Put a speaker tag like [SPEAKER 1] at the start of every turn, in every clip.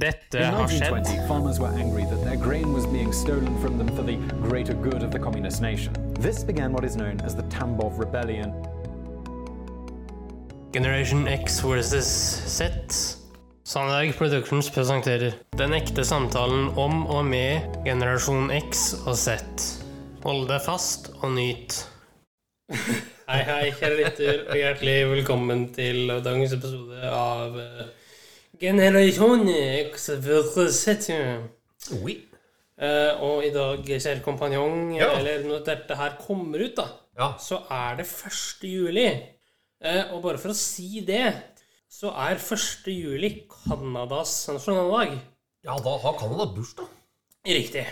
[SPEAKER 1] Dette
[SPEAKER 2] In
[SPEAKER 1] har skjedd.
[SPEAKER 2] 1920, farmers were angry that their grain was being stolen from them for the greater good of the communist nation. This began what is known as the Tambov Rebellion.
[SPEAKER 1] Generation X versus Z. Sandberg Productions presenterer Den ekte samtalen om og med generasjon X og Z. Hold deg fast og nyt. Hei, hei, kjære lytter, og hjertelig velkommen til dagens episode av eh, Generasjon X versus Z.
[SPEAKER 3] Oui.
[SPEAKER 1] Eh, og i dag, kjære kompanjong,
[SPEAKER 3] Ja.
[SPEAKER 1] eller når dette her kommer ut, da,
[SPEAKER 3] Ja.
[SPEAKER 1] så er det 1. juli. Eh, og bare for å si det, så er 1. juli Canadas nasjonaldag.
[SPEAKER 3] ja, da har Canada bursdag.
[SPEAKER 1] Riktig.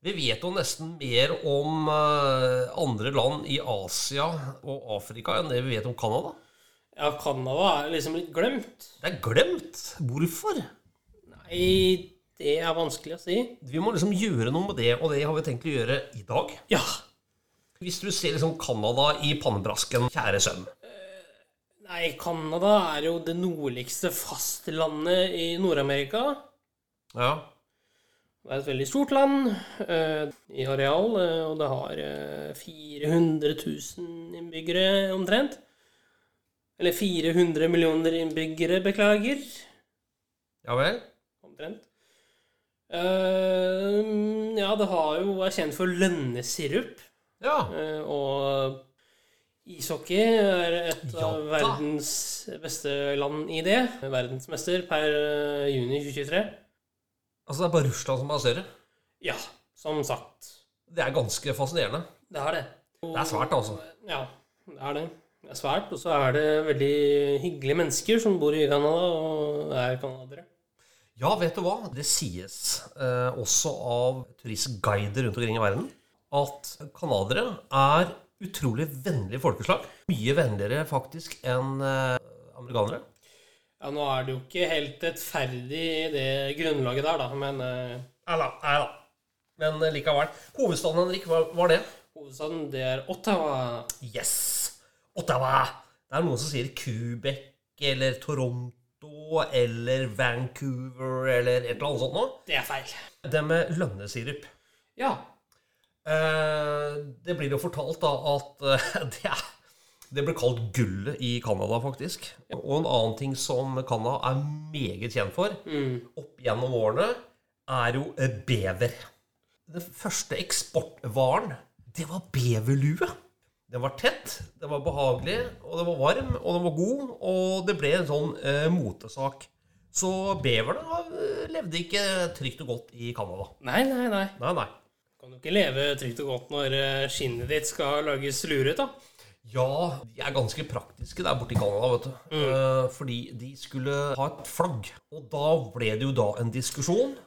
[SPEAKER 3] Vi vet jo nesten mer om eh, andre land i Asia og Afrika enn det vi vet om Canada.
[SPEAKER 1] Ja, Canada er liksom litt glemt.
[SPEAKER 3] Det er glemt. Hvorfor?
[SPEAKER 1] Nei, det er vanskelig å si.
[SPEAKER 3] Vi må liksom gjøre noe med det, og det har vi tenkt å gjøre i dag.
[SPEAKER 1] Ja.
[SPEAKER 3] Hvis du ser liksom Canada i pannebrasken, kjære sønn.
[SPEAKER 1] Nei, Canada er jo det nordligste fastlandet i Nord-Amerika.
[SPEAKER 3] Ja.
[SPEAKER 1] Det er et veldig stort land eh, i areal, eh, og det har eh, 400 000 innbyggere omtrent. Eller 400 millioner innbyggere, beklager.
[SPEAKER 3] Ja vel?
[SPEAKER 1] Omtrent. Eh, ja, det har jo er kjent for lønnesirup.
[SPEAKER 3] Ja.
[SPEAKER 1] eh, og ishockey er et
[SPEAKER 3] Ja
[SPEAKER 1] av
[SPEAKER 3] da.
[SPEAKER 1] verdens beste land i det. Verdensmester per eh, juni 2023.
[SPEAKER 3] Altså, det er bare Russland som er større.
[SPEAKER 1] Ja, som sagt.
[SPEAKER 3] Det er ganske fascinerende.
[SPEAKER 1] Det er det.
[SPEAKER 3] Det er svært, altså.
[SPEAKER 1] Ja, det er det. Det er svært. Og så er det veldig hyggelige mennesker som bor i Canada og er canadiere.
[SPEAKER 3] Ja, vet du hva? Det sies eh, også av turistguider rundt omkring i verden at canadiere er utrolig vennlige folkeslag. Mye vennligere faktisk enn eh, amerikanere.
[SPEAKER 1] Ja, nå er det jo ikke helt rettferdig det grunnlaget der, da, men eh,
[SPEAKER 3] Nei da, nei da. Men eh, likevel. Hovedstaden, Henrik, hva var det?
[SPEAKER 1] hovedstaden, det er Ottawa.
[SPEAKER 3] Yes! Ottawa! Det er noen som sier Quebec eller Toronto eller Vancouver eller et eller annet sånt noe.
[SPEAKER 1] Det er feil.
[SPEAKER 3] Det med lønnesirup.
[SPEAKER 1] Ja.
[SPEAKER 3] Eh, det blir jo fortalt da at eh, det, er, det ble kalt gullet i Canada, faktisk. Og en annen ting som Canada er meget kjent for opp gjennom årene, er jo eh, bever. Den første eksportvaren, det var beverlue. Den var tett, den var behagelig, og den var varm, og den var god, og det ble en sånn eh, motesak. Så beverne eh, levde ikke trygt og godt i Canada.
[SPEAKER 1] Nei, nei, nei.
[SPEAKER 3] Nei, nei.
[SPEAKER 1] Kan du ikke leve trygt og godt når eh, skinnet ditt skal lages luret, da?
[SPEAKER 3] Ja, de er ganske praktiske der borte i Canada, vet du. Eh, fordi de skulle ha et flagg. Og da ble det jo da en diskusjon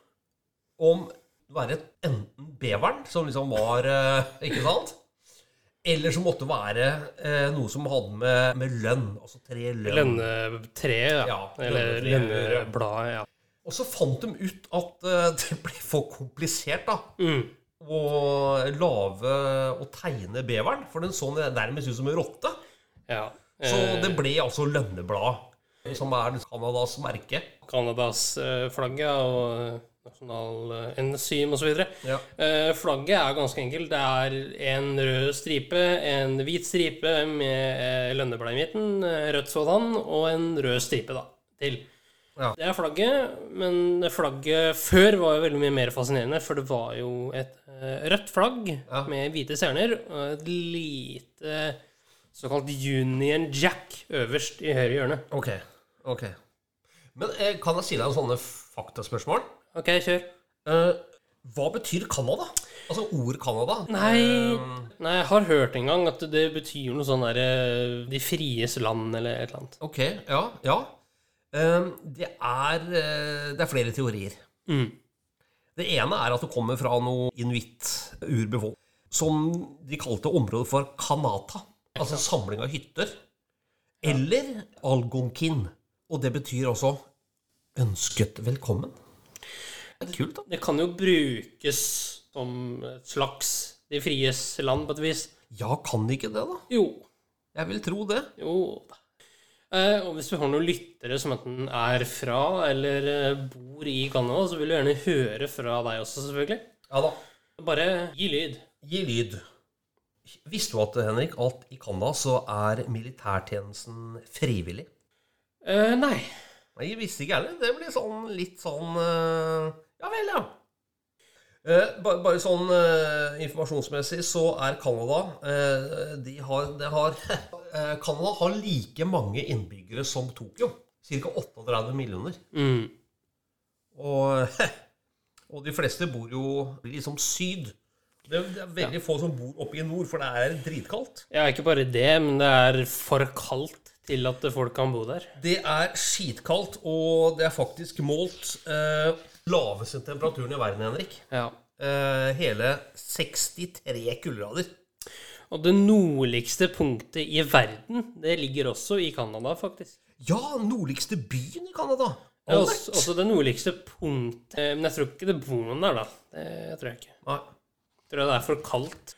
[SPEAKER 3] om å være enten beveren, som liksom var eh, Ikke sant? Eller så måtte det være eh, noe som hadde med, med lønn, altså tre lønn.
[SPEAKER 1] Lønnetreet, ja.
[SPEAKER 3] Ja,
[SPEAKER 1] Eller
[SPEAKER 3] lønnetreet.
[SPEAKER 1] lønnebladet, ja.
[SPEAKER 3] Og så fant de ut at eh, det ble for komplisert, da.
[SPEAKER 1] Mm.
[SPEAKER 3] Å lage og tegne beveren, for den så nærmest ut som en rotte.
[SPEAKER 1] ja.
[SPEAKER 3] Så
[SPEAKER 1] Eh,
[SPEAKER 3] det ble altså lønneblad, som er Canadas merke.
[SPEAKER 1] Canadas eh, flagg ja, og eh, nasjonal eh, enzym osv.
[SPEAKER 3] Ja.
[SPEAKER 1] Eh, flagget er ganske enkelt. Det er en rød stripe, en hvit stripe med eh, lønneblad i midten, eh, rødt sådan, og en rød stripe da, til.
[SPEAKER 3] Ja.
[SPEAKER 1] Det er flagget, men flagget før var jo veldig mye mer fascinerende, for det var jo et eh, rødt flagg
[SPEAKER 3] Ja.
[SPEAKER 1] med hvite stjerner og et lite såkalt Union Jack øverst i høyre hjørne.
[SPEAKER 3] Ok, ok. Men eh, kan jeg stille deg noen sånne faktaspørsmål?
[SPEAKER 1] OK, kjør.
[SPEAKER 3] Eh, hva betyr Canada? Altså ord Canada?
[SPEAKER 1] Nei,
[SPEAKER 3] Eh,
[SPEAKER 1] nei, jeg har hørt en gang at det betyr noe sånn derre De fries land, eller et eller annet.
[SPEAKER 3] ok, ja. ja. Eh, det, er, eh, det er flere teorier.
[SPEAKER 1] Mm.
[SPEAKER 3] Det ene er at det kommer fra noe inuitt-urbefolkning, som de kalte området for Kanata, altså samling av hytter, eller algonkin, og det betyr også ønsket velkommen. Det er kult, da.
[SPEAKER 1] Det kan jo brukes som et slags De fries land, på et vis.
[SPEAKER 3] Ja, kan ikke det, da?
[SPEAKER 1] Jo.
[SPEAKER 3] Jeg vil tro det.
[SPEAKER 1] Jo da. Eh, og hvis du har noen lyttere som enten er fra eller eh, bor i Canada, så vil du gjerne høre fra deg også, selvfølgelig.
[SPEAKER 3] Ja da.
[SPEAKER 1] Bare gi lyd.
[SPEAKER 3] Gi lyd. Visste du at, Henrik, at i Canada så er militærtjenesten frivillig?
[SPEAKER 1] Eh, nei.
[SPEAKER 3] Nei, jeg visste ikke heller. Det blir sånn litt sånn eh, Ja vel, ja. Eh, ba- bare sånn eh, informasjonsmessig så er Canada eh, De har, de har eh, Canada har like mange innbyggere som Tokyo. Ca. 38 millioner.
[SPEAKER 1] Mm.
[SPEAKER 3] Og, og de fleste bor jo liksom syd. Det er, det er veldig få som bor oppe i nord, for det er dritkaldt.
[SPEAKER 1] Ja, ikke bare det, men det er for kaldt til at folk kan bo der.
[SPEAKER 3] Det er skitkaldt, og det er faktisk målt eh, laveste temperaturen i verden, Henrik.
[SPEAKER 1] Ja.
[SPEAKER 3] Eh, hele 63 kuldegrader.
[SPEAKER 1] Og det nordligste punktet i verden, det ligger også i Canada, faktisk.
[SPEAKER 3] Ja, nordligste byen i Canada.
[SPEAKER 1] Det er
[SPEAKER 3] Albert.
[SPEAKER 1] også, også det nordligste punktet eh, Men jeg tror ikke det bor noen der, da. Det tror jeg ikke.
[SPEAKER 3] Nei.
[SPEAKER 1] Jeg tror det er for kaldt.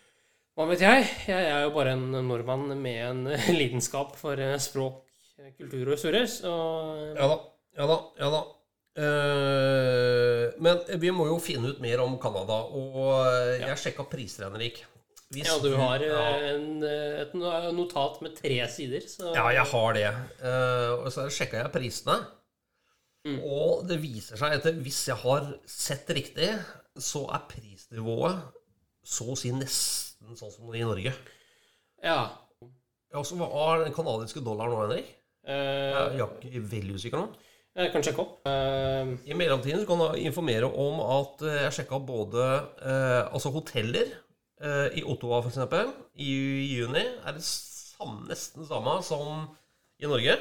[SPEAKER 1] Hva vet jeg? Jeg er jo bare en nordmann med en eh, lidenskap for eh, språk, eh, kultur og historie. Så
[SPEAKER 3] Ja da. Ja da. Ja da. Eh, men vi må jo finne ut mer om Canada, og eh, jeg sjekka priser, Henrik. Hvis
[SPEAKER 1] ja, du har eh,
[SPEAKER 3] ja.
[SPEAKER 1] en, eh, et no- notat med tre sider, så
[SPEAKER 3] Ja, jeg har det. Eh, og så sjekka jeg prisene.
[SPEAKER 1] Mm.
[SPEAKER 3] Og det viser seg at hvis jeg har sett riktig, så er prisnivået så å si nesten sånn som det er i Norge.
[SPEAKER 1] Ja.
[SPEAKER 3] Ja, så Hva er den kanadiske dollaren nå, Henrik?
[SPEAKER 1] Eh,
[SPEAKER 3] Jeg er ikke veldig usikker nå.
[SPEAKER 1] jeg kan sjekke opp. Eh,
[SPEAKER 3] I mellomtiden så kan jeg informere om at eh, jeg sjekka både eh, altså hoteller eh, i Ottawa, for eksempel, i juni er det samme, nesten samme som i Norge.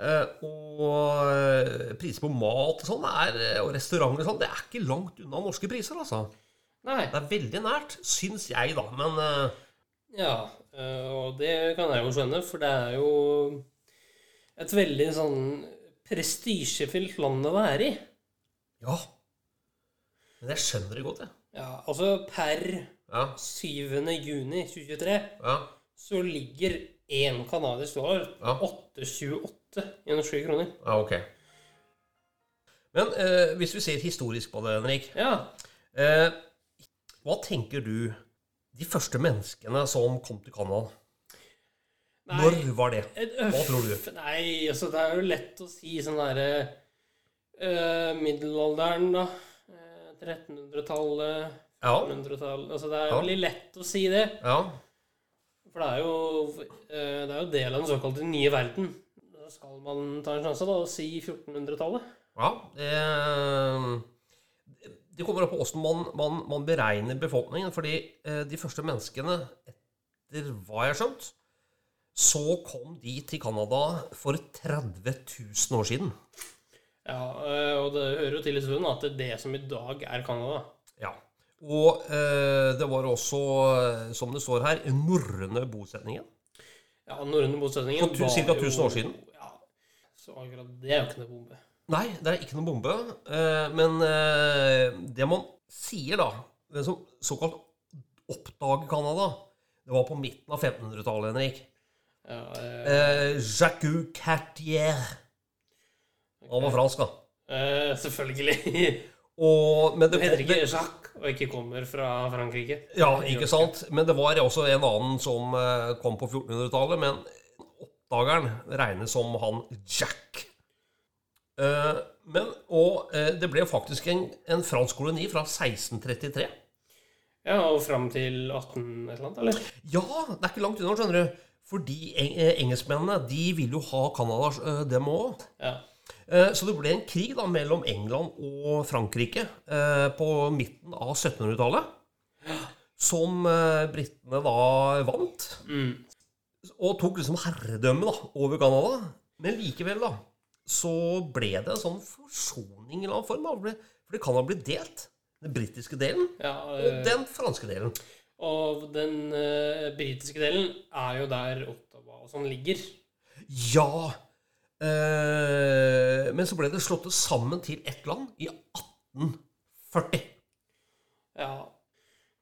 [SPEAKER 3] Eh, og eh, priser på mat og sånn er, eh, og restauranter og sånn, det er ikke langt unna norske priser, altså.
[SPEAKER 1] nei.
[SPEAKER 3] Det er veldig nært, syns jeg, da. Men eh,
[SPEAKER 1] Ja, eh, og det kan jeg jo skjønne, for det er jo et veldig sånn prestisjefylt land å være i.
[SPEAKER 3] ja. Men jeg skjønner det godt, jeg.
[SPEAKER 1] Ja, altså per
[SPEAKER 3] Ja,
[SPEAKER 1] 7. juni 2023
[SPEAKER 3] ja,
[SPEAKER 1] så ligger én canadisk dollar
[SPEAKER 3] Ja.
[SPEAKER 1] 8,28 i norske kroner.
[SPEAKER 3] ja Ah, ok. Men eh, hvis vi ser historisk på det, Henrik
[SPEAKER 1] Ja.
[SPEAKER 3] Eh, hva tenker du de første menneskene som kom til Canada? Når var det?
[SPEAKER 1] Et
[SPEAKER 3] Hva tror du?
[SPEAKER 1] øff- Nei, altså det er jo lett å si sånn derre eh, Middelalderen, da. Eh, 1300-tallet,
[SPEAKER 3] Ja.
[SPEAKER 1] 100-tallet Altså det er
[SPEAKER 3] Ja.
[SPEAKER 1] veldig lett å si det.
[SPEAKER 3] ja.
[SPEAKER 1] For det er jo, eh, det er jo del av den såkalte nye verden. Da skal man ta en sjanse da, og si 1400-tallet.
[SPEAKER 3] ja. Eh, det kommer opp på hvordan man, man, man beregner befolkningen. Fordi eh, de første menneskene, etter hva jeg har skjønt, så kom de til Canada for 30 000 år siden.
[SPEAKER 1] Ja, eh, og det hører jo til i stunden at det er det som i dag er Canada.
[SPEAKER 3] Ja. Og eh, det var også, eh, som det står her, norrøne bosetningen.
[SPEAKER 1] Ja, norrøne bosetningen
[SPEAKER 3] For tu- cirka 1000 år siden.
[SPEAKER 1] Ja, så akkurat det er jo ikke noe bombe.
[SPEAKER 3] Nei, det er ikke noen bombe. eh, Men eh, det man sier, da Den som såkalt oppdager Canada, det var på midten av 1500-tallet, Henrik.
[SPEAKER 1] Ja, eh,
[SPEAKER 3] Eh, Jacques Cartier. Han var fransk, da.
[SPEAKER 1] eh, selvfølgelig.
[SPEAKER 3] Og, men det,
[SPEAKER 1] Det heter
[SPEAKER 3] det,
[SPEAKER 1] ikke Jacques, og ikke kommer fra Frankrike.
[SPEAKER 3] ja, ikke sant? Men det var også en annen som eh, kom på 1400-tallet. Men oppdageren regnes som han Jack. Eh, men, og eh, det ble faktisk en, en fransk koloni fra 1633.
[SPEAKER 1] Ja, og fram til 18 et eller annet, eller?
[SPEAKER 3] Ja, det er ikke langt unna, skjønner du. Fordi eng eh, engelskmennene de vil jo ha Canada, eh, dem òg.
[SPEAKER 1] Ja.
[SPEAKER 3] Eh, Så det ble en krig da mellom England og Frankrike eh, på midten av 1700-tallet. Som eh, britene da vant.
[SPEAKER 1] Mm.
[SPEAKER 3] Og tok liksom herredømme da, over Canada. Men likevel, da, så ble det en sånn forsoning i en eller annen form. da. Ble- Fordi Canada ble delt. Den britiske delen
[SPEAKER 1] Ja,
[SPEAKER 3] og
[SPEAKER 1] eh,
[SPEAKER 3] den franske delen.
[SPEAKER 1] og den eh, britiske delen er jo der Ottawa og sånn ligger.
[SPEAKER 3] Ja. Eh, men så ble det slått sammen til ett land i 1840.
[SPEAKER 1] Ja.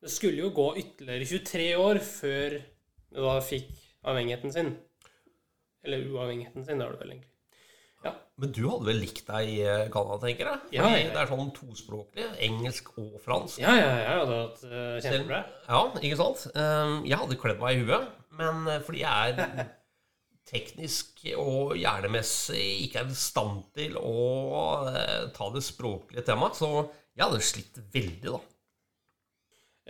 [SPEAKER 1] Det skulle jo gå ytterligere 23 år før det da fikk avhengigheten sin. Eller uavhengigheten sin, det har du vel egentlig.
[SPEAKER 3] Men du hadde vel likt deg i eh, Canada, tenker jeg?
[SPEAKER 1] Ja,
[SPEAKER 3] Fordi
[SPEAKER 1] ja, ja.
[SPEAKER 3] Det er sånn tospråklig. Engelsk og fransk.
[SPEAKER 1] Ja, ja, jeg hadde hatt eh, kjempebra.
[SPEAKER 3] Ja, ikke sant? Ehm, Jeg hadde kledd meg i huet, men eh, fordi jeg er teknisk og hjernemessig ikke er i stand til å eh, ta det språklige temaet, så jeg hadde slitt veldig, da.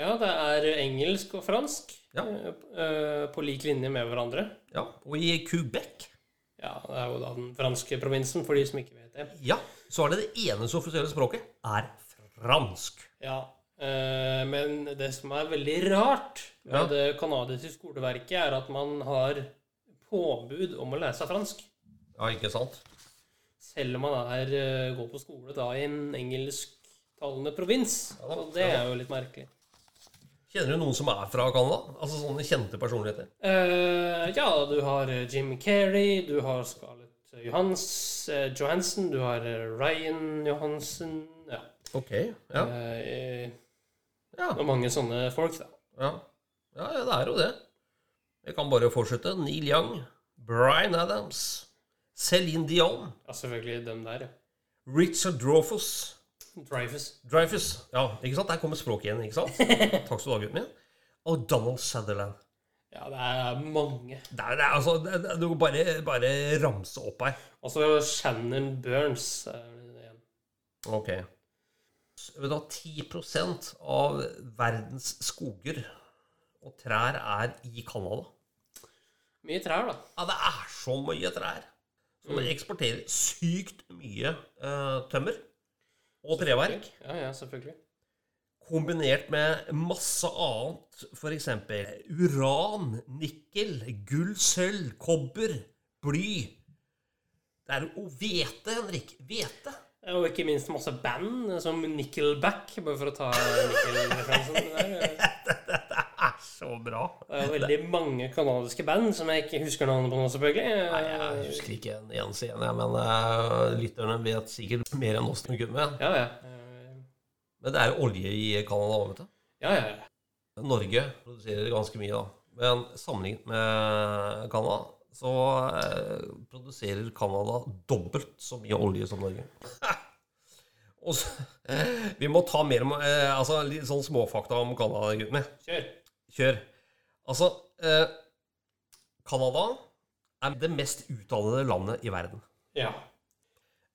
[SPEAKER 1] Ja, det er engelsk og fransk
[SPEAKER 3] Ja.
[SPEAKER 1] eh, eh, på lik linje med hverandre.
[SPEAKER 3] Ja, Og i Quebec
[SPEAKER 1] Ja, det er jo da den franske provinsen, for de som ikke vet det.
[SPEAKER 3] ja, så er det det eneste offisielle språket er fransk.
[SPEAKER 1] Ja, eh, men det som er veldig rart med
[SPEAKER 3] Ja.
[SPEAKER 1] det kanadiske skoleverket, er at man har påbud om å lære seg fransk.
[SPEAKER 3] Ja, ikke sant?
[SPEAKER 1] Selv om man er, eh, går på skole da i en engelsktalende provins.
[SPEAKER 3] Ja da,
[SPEAKER 1] Så det er jo litt merkelig.
[SPEAKER 3] Kjenner du noen som er fra Canada? Altså sånne kjente personligheter?
[SPEAKER 1] Eh, ja, du har eh, Jim Carrey, du har Scarlett Johans, eh, Johansson, du har eh, Ryan Johansen ja.
[SPEAKER 3] Ok, ja.
[SPEAKER 1] Eh,
[SPEAKER 3] Ja.
[SPEAKER 1] og mange sånne folk, da.
[SPEAKER 3] Ja. ja, ja, det er jo det. Jeg kan bare fortsette. Neil Young, Bryan Adams, Céline Dion,
[SPEAKER 1] Ja, selvfølgelig dem der, ja.
[SPEAKER 3] Richard Dreyfus
[SPEAKER 1] Dreyfus.
[SPEAKER 3] Dreyfus, ja, ikke sant? Der kommer språket igjen, ikke sant? Takk skal du ha, gutten min. Og Donald Sutherland.
[SPEAKER 1] Ja, det er mange.
[SPEAKER 3] Det er, det er, altså, det er, du må bare, bare ramse opp her.
[SPEAKER 1] Og så Shannon Burns. er det igjen.
[SPEAKER 3] Ok. Så Vet du hva, 10 av verdens skoger og trær er i Canada.
[SPEAKER 1] Mye trær, da.
[SPEAKER 3] Ja, det er så mye trær. Så det eksporterer sykt mye eh, tømmer og treverk.
[SPEAKER 1] Ja, ja, selvfølgelig.
[SPEAKER 3] Kombinert med masse annet, f.eks. uran, nikkel, gull, sølv, kobber, bly. Det er jo hvete, Henrik. Hvete.
[SPEAKER 1] Og ikke minst masse band, eh, som Nickelback, bare for å ta Nickel-referansen. der.
[SPEAKER 3] Det er så bra.
[SPEAKER 1] Det er jo veldig mange kanadiske band som jeg ikke husker navnet på nå, selvfølgelig. Eh,
[SPEAKER 3] Jeg husker ikke en eneste en, jeg, men eh, lytterne vet sikkert mer enn oss. Men
[SPEAKER 1] Ja, ja. Eh,
[SPEAKER 3] det er jo olje i Canada òg, vet du.
[SPEAKER 1] Ja, ja. ja.
[SPEAKER 3] Norge produserer ganske mye, da. Men sammenlignet med Canada, så eh, produserer Canada dobbelt så mye olje som Norge. Og så, vi må ta mer om eh, altså, litt sånn småfakta om Canada, gutten min.
[SPEAKER 1] Kjør.
[SPEAKER 3] Kjør. Altså eh, Canada er det mest utdannede landet i verden.
[SPEAKER 1] Ja.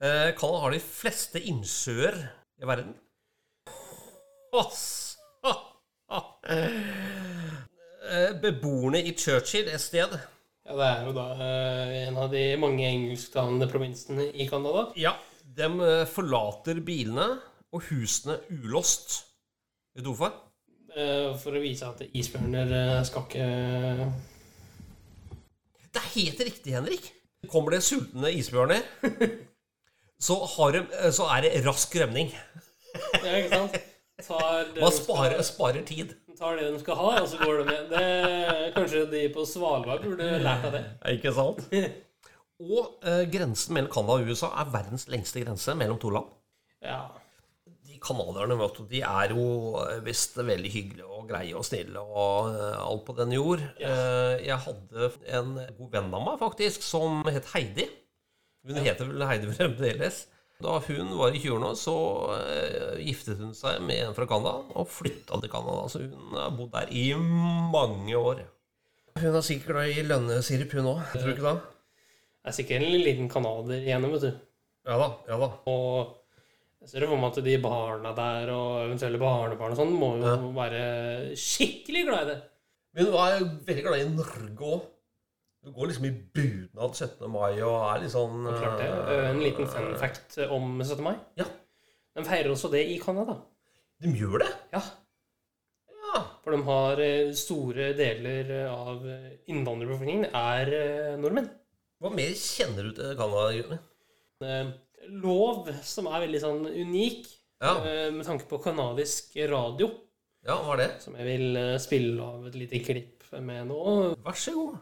[SPEAKER 3] Eh, Canada har de fleste innsjøer i verden. Ass. Eh, Beboerne i Churchill et sted
[SPEAKER 1] ja. Det er jo da eh, en av de mange engelsktalende provinsene i Canada.
[SPEAKER 3] Ja, de eh, forlater bilene og husene ulåst. Vet du hvorfor?
[SPEAKER 1] eh, For å vise at isbjørner eh, skal ikke
[SPEAKER 3] Det er helt riktig, Henrik. Kommer det sultne isbjørner, så, har de, eh, så er det rask rømning.
[SPEAKER 1] Ja, ikke sant? Tar det,
[SPEAKER 3] Man
[SPEAKER 1] de
[SPEAKER 3] sparer,
[SPEAKER 1] skal,
[SPEAKER 3] sparer tid.
[SPEAKER 1] tar det de skal ha, og så går de med. Det, kanskje de på Svalbard burde lært av det.
[SPEAKER 3] Ikke sant? Og eh, grensen mellom Canada og USA er verdens lengste grense mellom to land.
[SPEAKER 1] Ja.
[SPEAKER 3] De canadierne, vet du, de er jo eh, visst veldig hyggelige og greie og snille og eh, alt på den jord. Eh, Jeg hadde en god venn av meg, faktisk, som het Heidi. Hun heter vel Heidi fremdeles. Da hun var i 20-årene, så eh, giftet hun seg med en fra Canada og flytta til Canada. Så hun har bodd der i mange år. Hun er sikkert glad i lønnesirep, hun òg. Tror du ikke det?
[SPEAKER 1] Det er sikkert en liten canadier igjen, vet du.
[SPEAKER 3] Ja da. ja da.
[SPEAKER 1] Og jeg ser det for meg at de barna der og eventuelle barnebarn og sånn må jo
[SPEAKER 3] Ja.
[SPEAKER 1] være skikkelig glad i det.
[SPEAKER 3] Men du er veldig glad i Norge òg. Du går liksom i bunad 17. mai og er litt sånn
[SPEAKER 1] Det er Klart det. Eh, En liten fun fact om 17. mai.
[SPEAKER 3] Ja,
[SPEAKER 1] De feirer også det i Canada.
[SPEAKER 3] de gjør det.
[SPEAKER 1] Ja.
[SPEAKER 3] Ja.
[SPEAKER 1] For de har eh, store deler av innvandrerbefolkningen er eh, nordmenn.
[SPEAKER 3] Hva mer kjenner du til Canada? Jørgen?
[SPEAKER 1] Eh, Lov som er veldig sånn unik
[SPEAKER 3] Ja.
[SPEAKER 1] eh, med tanke på canadisk radio,
[SPEAKER 3] Ja, hva er det?
[SPEAKER 1] som jeg vil eh, spille av et lite klipp med nå.
[SPEAKER 3] Vær så god.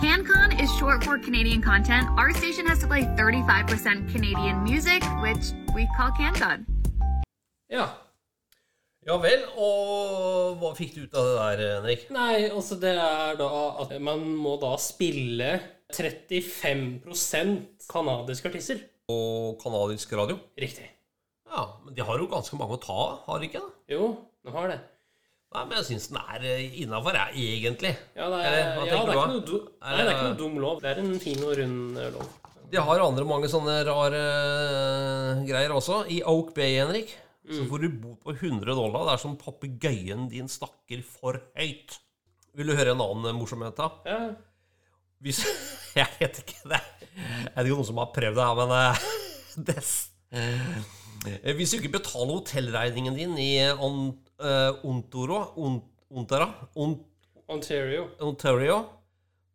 [SPEAKER 4] CanCon is short for Canadian content. Our station has to play 35% Canadian music, which we call CanCon.
[SPEAKER 1] Ja.
[SPEAKER 3] Ja vel. Og hva fikk du ut av det der, Henrik?
[SPEAKER 1] Nei, altså det er da at man må da spille 35 kanadiske artister.
[SPEAKER 3] Og kanadisk radio.
[SPEAKER 1] Riktig.
[SPEAKER 3] Ja, Men de har jo ganske mange å ta av, har de ikke det?
[SPEAKER 1] Jo, de har det.
[SPEAKER 3] Nei, men jeg syns den er eh, innafor, jeg, egentlig.
[SPEAKER 1] Ja, det er,
[SPEAKER 3] Eller, hva
[SPEAKER 1] ja, det er,
[SPEAKER 3] tenker du,
[SPEAKER 1] ikke,
[SPEAKER 3] da?
[SPEAKER 1] noe du,
[SPEAKER 3] Er
[SPEAKER 1] nei, det er ikke noe
[SPEAKER 3] det-
[SPEAKER 1] dum lov. Det er en fin og rund eh, lov.
[SPEAKER 3] De har andre mange sånne rare eh, greier også. I Oak Bay, Henrik, så får du bo på 100 dollar. Det er som papegøyen din snakker for høyt. Vil du høre en annen morsomhet, da?
[SPEAKER 1] Ja.
[SPEAKER 3] Hvis, jeg vet ikke det. Jeg vet ikke om noen som har prøvd det her, men eh, det s- Eh, Hvis du ikke betaler hotellregningen din i on, eh, Ontoro, on, Ontara, on,
[SPEAKER 1] Ontario.
[SPEAKER 3] Ontario,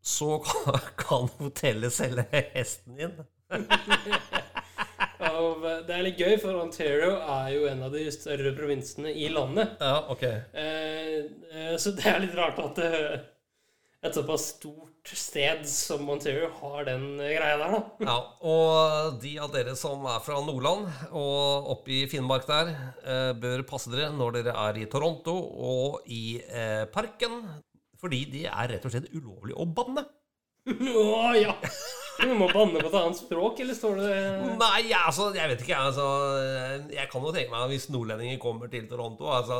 [SPEAKER 3] så kan, kan hotellet selge hesten din.
[SPEAKER 1] Av, eh, det er litt gøy, for Ontario er jo en av de større provinsene i landet.
[SPEAKER 3] Ja, ok.
[SPEAKER 1] Eh, eh, Så det er litt rart at eh, et såpass stort sted som Ontario har den eh, greia der, da.
[SPEAKER 3] Ja, og de av dere som er fra Nordland og oppe i Finnmark der, eh, bør passe dere når dere er i Toronto og i eh, parken, fordi det er rett og slett ulovlig å banne.
[SPEAKER 1] Å ja! Du må banne på et annet språk, eller står det
[SPEAKER 3] Nei, altså, jeg vet ikke, altså, jeg kan jo tenke meg hvis nordlendinger kommer til Toronto, altså,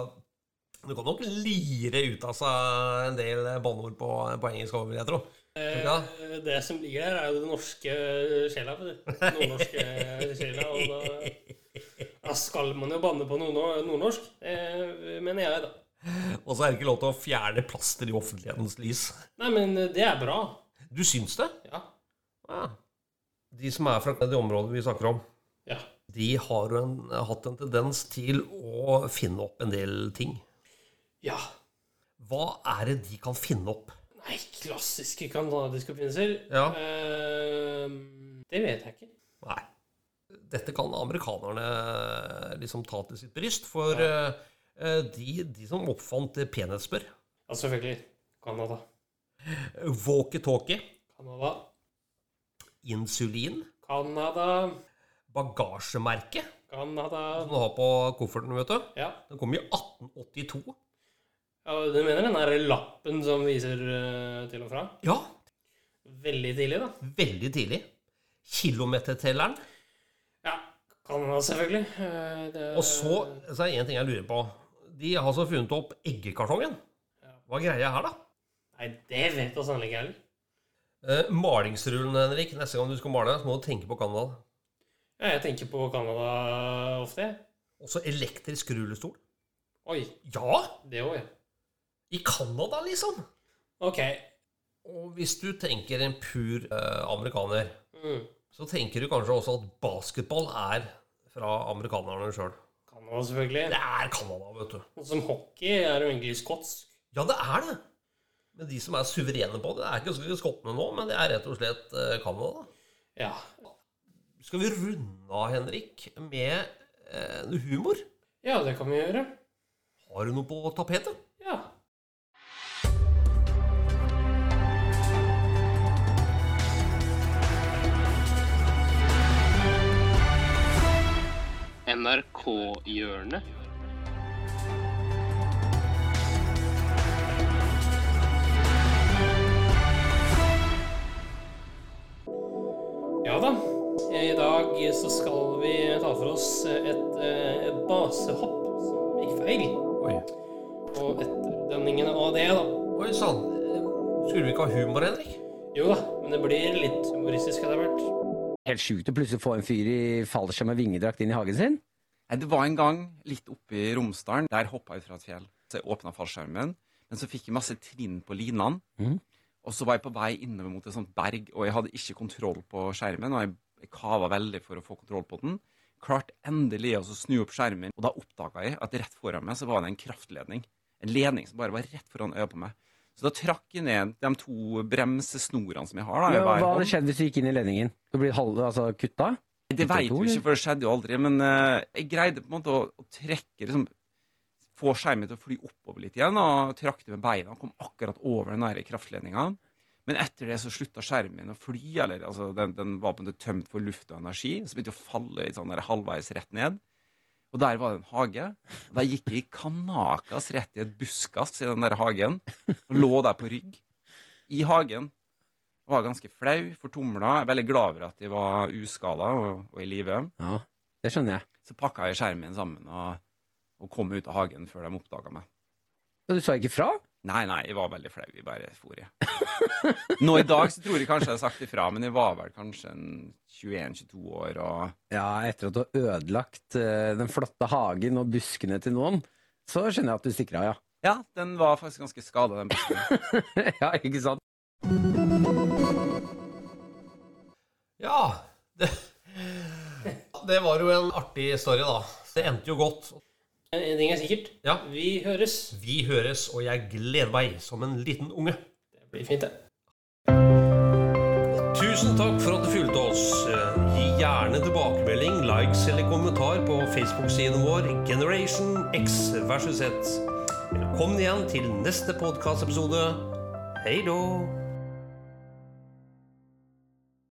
[SPEAKER 3] du kan nok lire ut av seg en del banneord på, på engelsk over, jeg tror. Tror du ikke det?
[SPEAKER 1] Eh, Det som ligger der, er jo den norske eh, sjela. vet du. Nordnorske eh, sjela. Og da, da skal man jo banne på nordno- nordnorsk, eh, mener jeg, da.
[SPEAKER 3] Og så er det ikke lov til å fjerne plaster i offentlighetens lys.
[SPEAKER 1] Nei, men eh, det er bra.
[SPEAKER 3] Du syns det?
[SPEAKER 1] Ja.
[SPEAKER 3] Ja. De som er fra det området vi snakker om,
[SPEAKER 1] ja.
[SPEAKER 3] de har jo en, hatt en tendens til å finne opp en del ting.
[SPEAKER 1] Ja.
[SPEAKER 3] Hva er det de kan finne opp?
[SPEAKER 1] Nei, klassiske kanadiske oppfinnelser
[SPEAKER 3] Ja.
[SPEAKER 1] Eh, Det vet jeg ikke.
[SPEAKER 3] Nei. Dette kan amerikanerne liksom ta til sitt bryst, for eh, eh, de, de som oppfant penhetsspør,
[SPEAKER 1] Ja, Altså, selvfølgelig. Canada.
[SPEAKER 3] walkietalkie,
[SPEAKER 1] Canada.
[SPEAKER 3] insulin,
[SPEAKER 1] Canada.
[SPEAKER 3] bagasjemerke
[SPEAKER 1] Canada.
[SPEAKER 3] som du har på kofferten, vet du.
[SPEAKER 1] Ja.
[SPEAKER 3] Den kom i 1882.
[SPEAKER 1] ja, du mener den der lappen som viser eh, til og fra?
[SPEAKER 3] Ja,
[SPEAKER 1] Veldig tidlig, da.
[SPEAKER 3] veldig tidlig. Kilometertelleren.
[SPEAKER 1] Ja, Canada selvfølgelig. Eh, Det,
[SPEAKER 3] Og så, så er det én ting jeg lurer på. De har altså funnet opp eggekartongen. Hva er greia her, da?
[SPEAKER 1] Nei, det vet vi sannelig ikke heller.
[SPEAKER 3] Eh, malingsrullen, Henrik. Neste gang du skal male, så må du tenke på Canada.
[SPEAKER 1] Ja, jeg tenker på Canada ofte. jeg.
[SPEAKER 3] Også elektrisk rullestol.
[SPEAKER 1] Oi,
[SPEAKER 3] Ja!
[SPEAKER 1] det òg, ja.
[SPEAKER 3] I Canada, liksom!
[SPEAKER 1] Ok.
[SPEAKER 3] Og hvis du tenker en pur eh, amerikaner,
[SPEAKER 1] Mm.
[SPEAKER 3] så tenker du kanskje også at basketball er fra amerikanerne sjøl.
[SPEAKER 1] Canada, selvfølgelig.
[SPEAKER 3] Det er Canada, vet du.
[SPEAKER 1] Og Som hockey er jo egentlig skotsk.
[SPEAKER 3] Ja, det er det! Men de som er suverene på det, det er ikke så mye skottene nå, men det er rett og slett eh, Canada.
[SPEAKER 1] Ja.
[SPEAKER 3] Skal vi runde av, Henrik, med eh, humor?
[SPEAKER 1] ja, det kan vi gjøre.
[SPEAKER 3] Har du noe på tapetet?
[SPEAKER 1] Ja. NRK-hjørnet. Ja da. I dag så skal vi ta for oss et, eh, et basehopp som gikk feil.
[SPEAKER 3] Oi.
[SPEAKER 1] Og etterdønningen av det, da.
[SPEAKER 3] Oi sann. Eh, Skulle vi ikke ha humor, Henrik?
[SPEAKER 1] Jo da, men det blir litt humoristisk etter hvert.
[SPEAKER 5] helt sjukt å plutselig få en fyr i fallskjerm og vingedrakt inn i hagen sin.
[SPEAKER 6] Nei, Det var en gang litt oppe i Romsdalen. Der hoppa jeg ut fra et fjell. Så jeg åpna fallskjermen, men så fikk jeg masse trinn på linene. Og så var jeg på vei innover mot et sånt berg, og jeg hadde ikke kontroll på skjermen. Og jeg, jeg kava veldig for å få kontroll på den. Klarte endelig å så snu opp skjermen, og da oppdaga jeg at rett foran meg så var det en kraftledning. En ledning som bare var rett foran øyet på meg. Så da trakk jeg ned de to bremsesnorene som jeg har. da. i
[SPEAKER 5] Men hva
[SPEAKER 6] hver hånd.
[SPEAKER 5] hadde skjedd hvis du gikk inn i ledningen? Du blir halv, altså, kutta?
[SPEAKER 6] Det
[SPEAKER 5] Ikke
[SPEAKER 6] veit
[SPEAKER 5] to,
[SPEAKER 6] vi
[SPEAKER 5] eller?
[SPEAKER 6] ikke, for det skjedde jo aldri. Men eh, jeg greide på en måte å, å trekke liksom, Få skjermen til å fly oppover litt igjen, og trakk det med beina. og Kom akkurat over den der kraftledninga. Men etter det så slutta skjermen å fly. eller altså, Den, den var på en måte tømt for luft og energi. Så begynte jeg å falle litt sånn der halvveis rett ned. Og der var det en hage. Og der gikk jeg i kanakas rett i et buskas i den der hagen. Og lå der på rygg. I hagen. Var ganske flau, fortumla. Jeg er Veldig glad over at de var uskada og, og i live.
[SPEAKER 5] Ja, det skjønner jeg.
[SPEAKER 6] Så pakka jeg skjermen sammen og, og kom ut av hagen før de oppdaga meg.
[SPEAKER 5] Og du sa ikke fra?
[SPEAKER 6] Nei, nei, jeg var veldig flau. Jeg bare for, jeg. Nå i dag så tror jeg kanskje jeg har sagt ifra, men jeg var vel kanskje en 21-22 år og
[SPEAKER 5] Ja, etter at du har ødelagt eh, den flotte hagen og buskene til noen, så skjønner jeg at du stikker av, ja.
[SPEAKER 6] Ja, den var faktisk ganske skada, den busken.
[SPEAKER 5] ja, ikke sant?
[SPEAKER 3] Ja, det, det var jo en artig story, da. Det endte jo godt.
[SPEAKER 1] Eh, En ting er sikkert.
[SPEAKER 3] Ja.
[SPEAKER 1] Vi høres.
[SPEAKER 3] Vi høres, og jeg gleder meg som en liten unge.
[SPEAKER 1] Det blir fint, det.
[SPEAKER 3] Tusen takk for at du fulgte oss. Eh, Gi gjerne tilbakemelding, likes eller kommentar på Facebook-siden vår Generation X versus Z. Velkommen igjen til neste podkastepisode. Hei då!